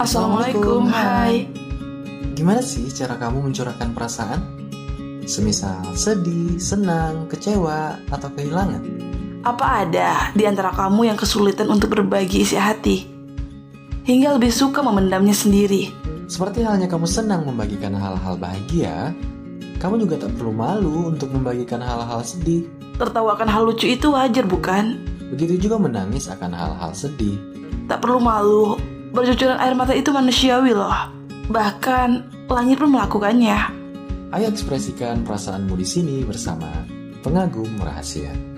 Assalamualaikum, hai Gimana sih cara kamu mencurahkan perasaan? Semisal sedih, senang, kecewa, atau kehilangan? Apa ada di antara kamu yang kesulitan untuk berbagi isi hati? Hingga lebih suka memendamnya sendiri Seperti halnya kamu senang membagikan hal-hal bahagia, kamu juga tak perlu malu untuk membagikan hal-hal sedih. Tertawakan hal lucu itu wajar bukan? Begitu juga menangis akan hal-hal sedih. Tak perlu malu Bercucuran air mata itu manusiawi loh Bahkan langit pun melakukannya Ayo ekspresikan perasaanmu di sini bersama Pengagum Rahasia.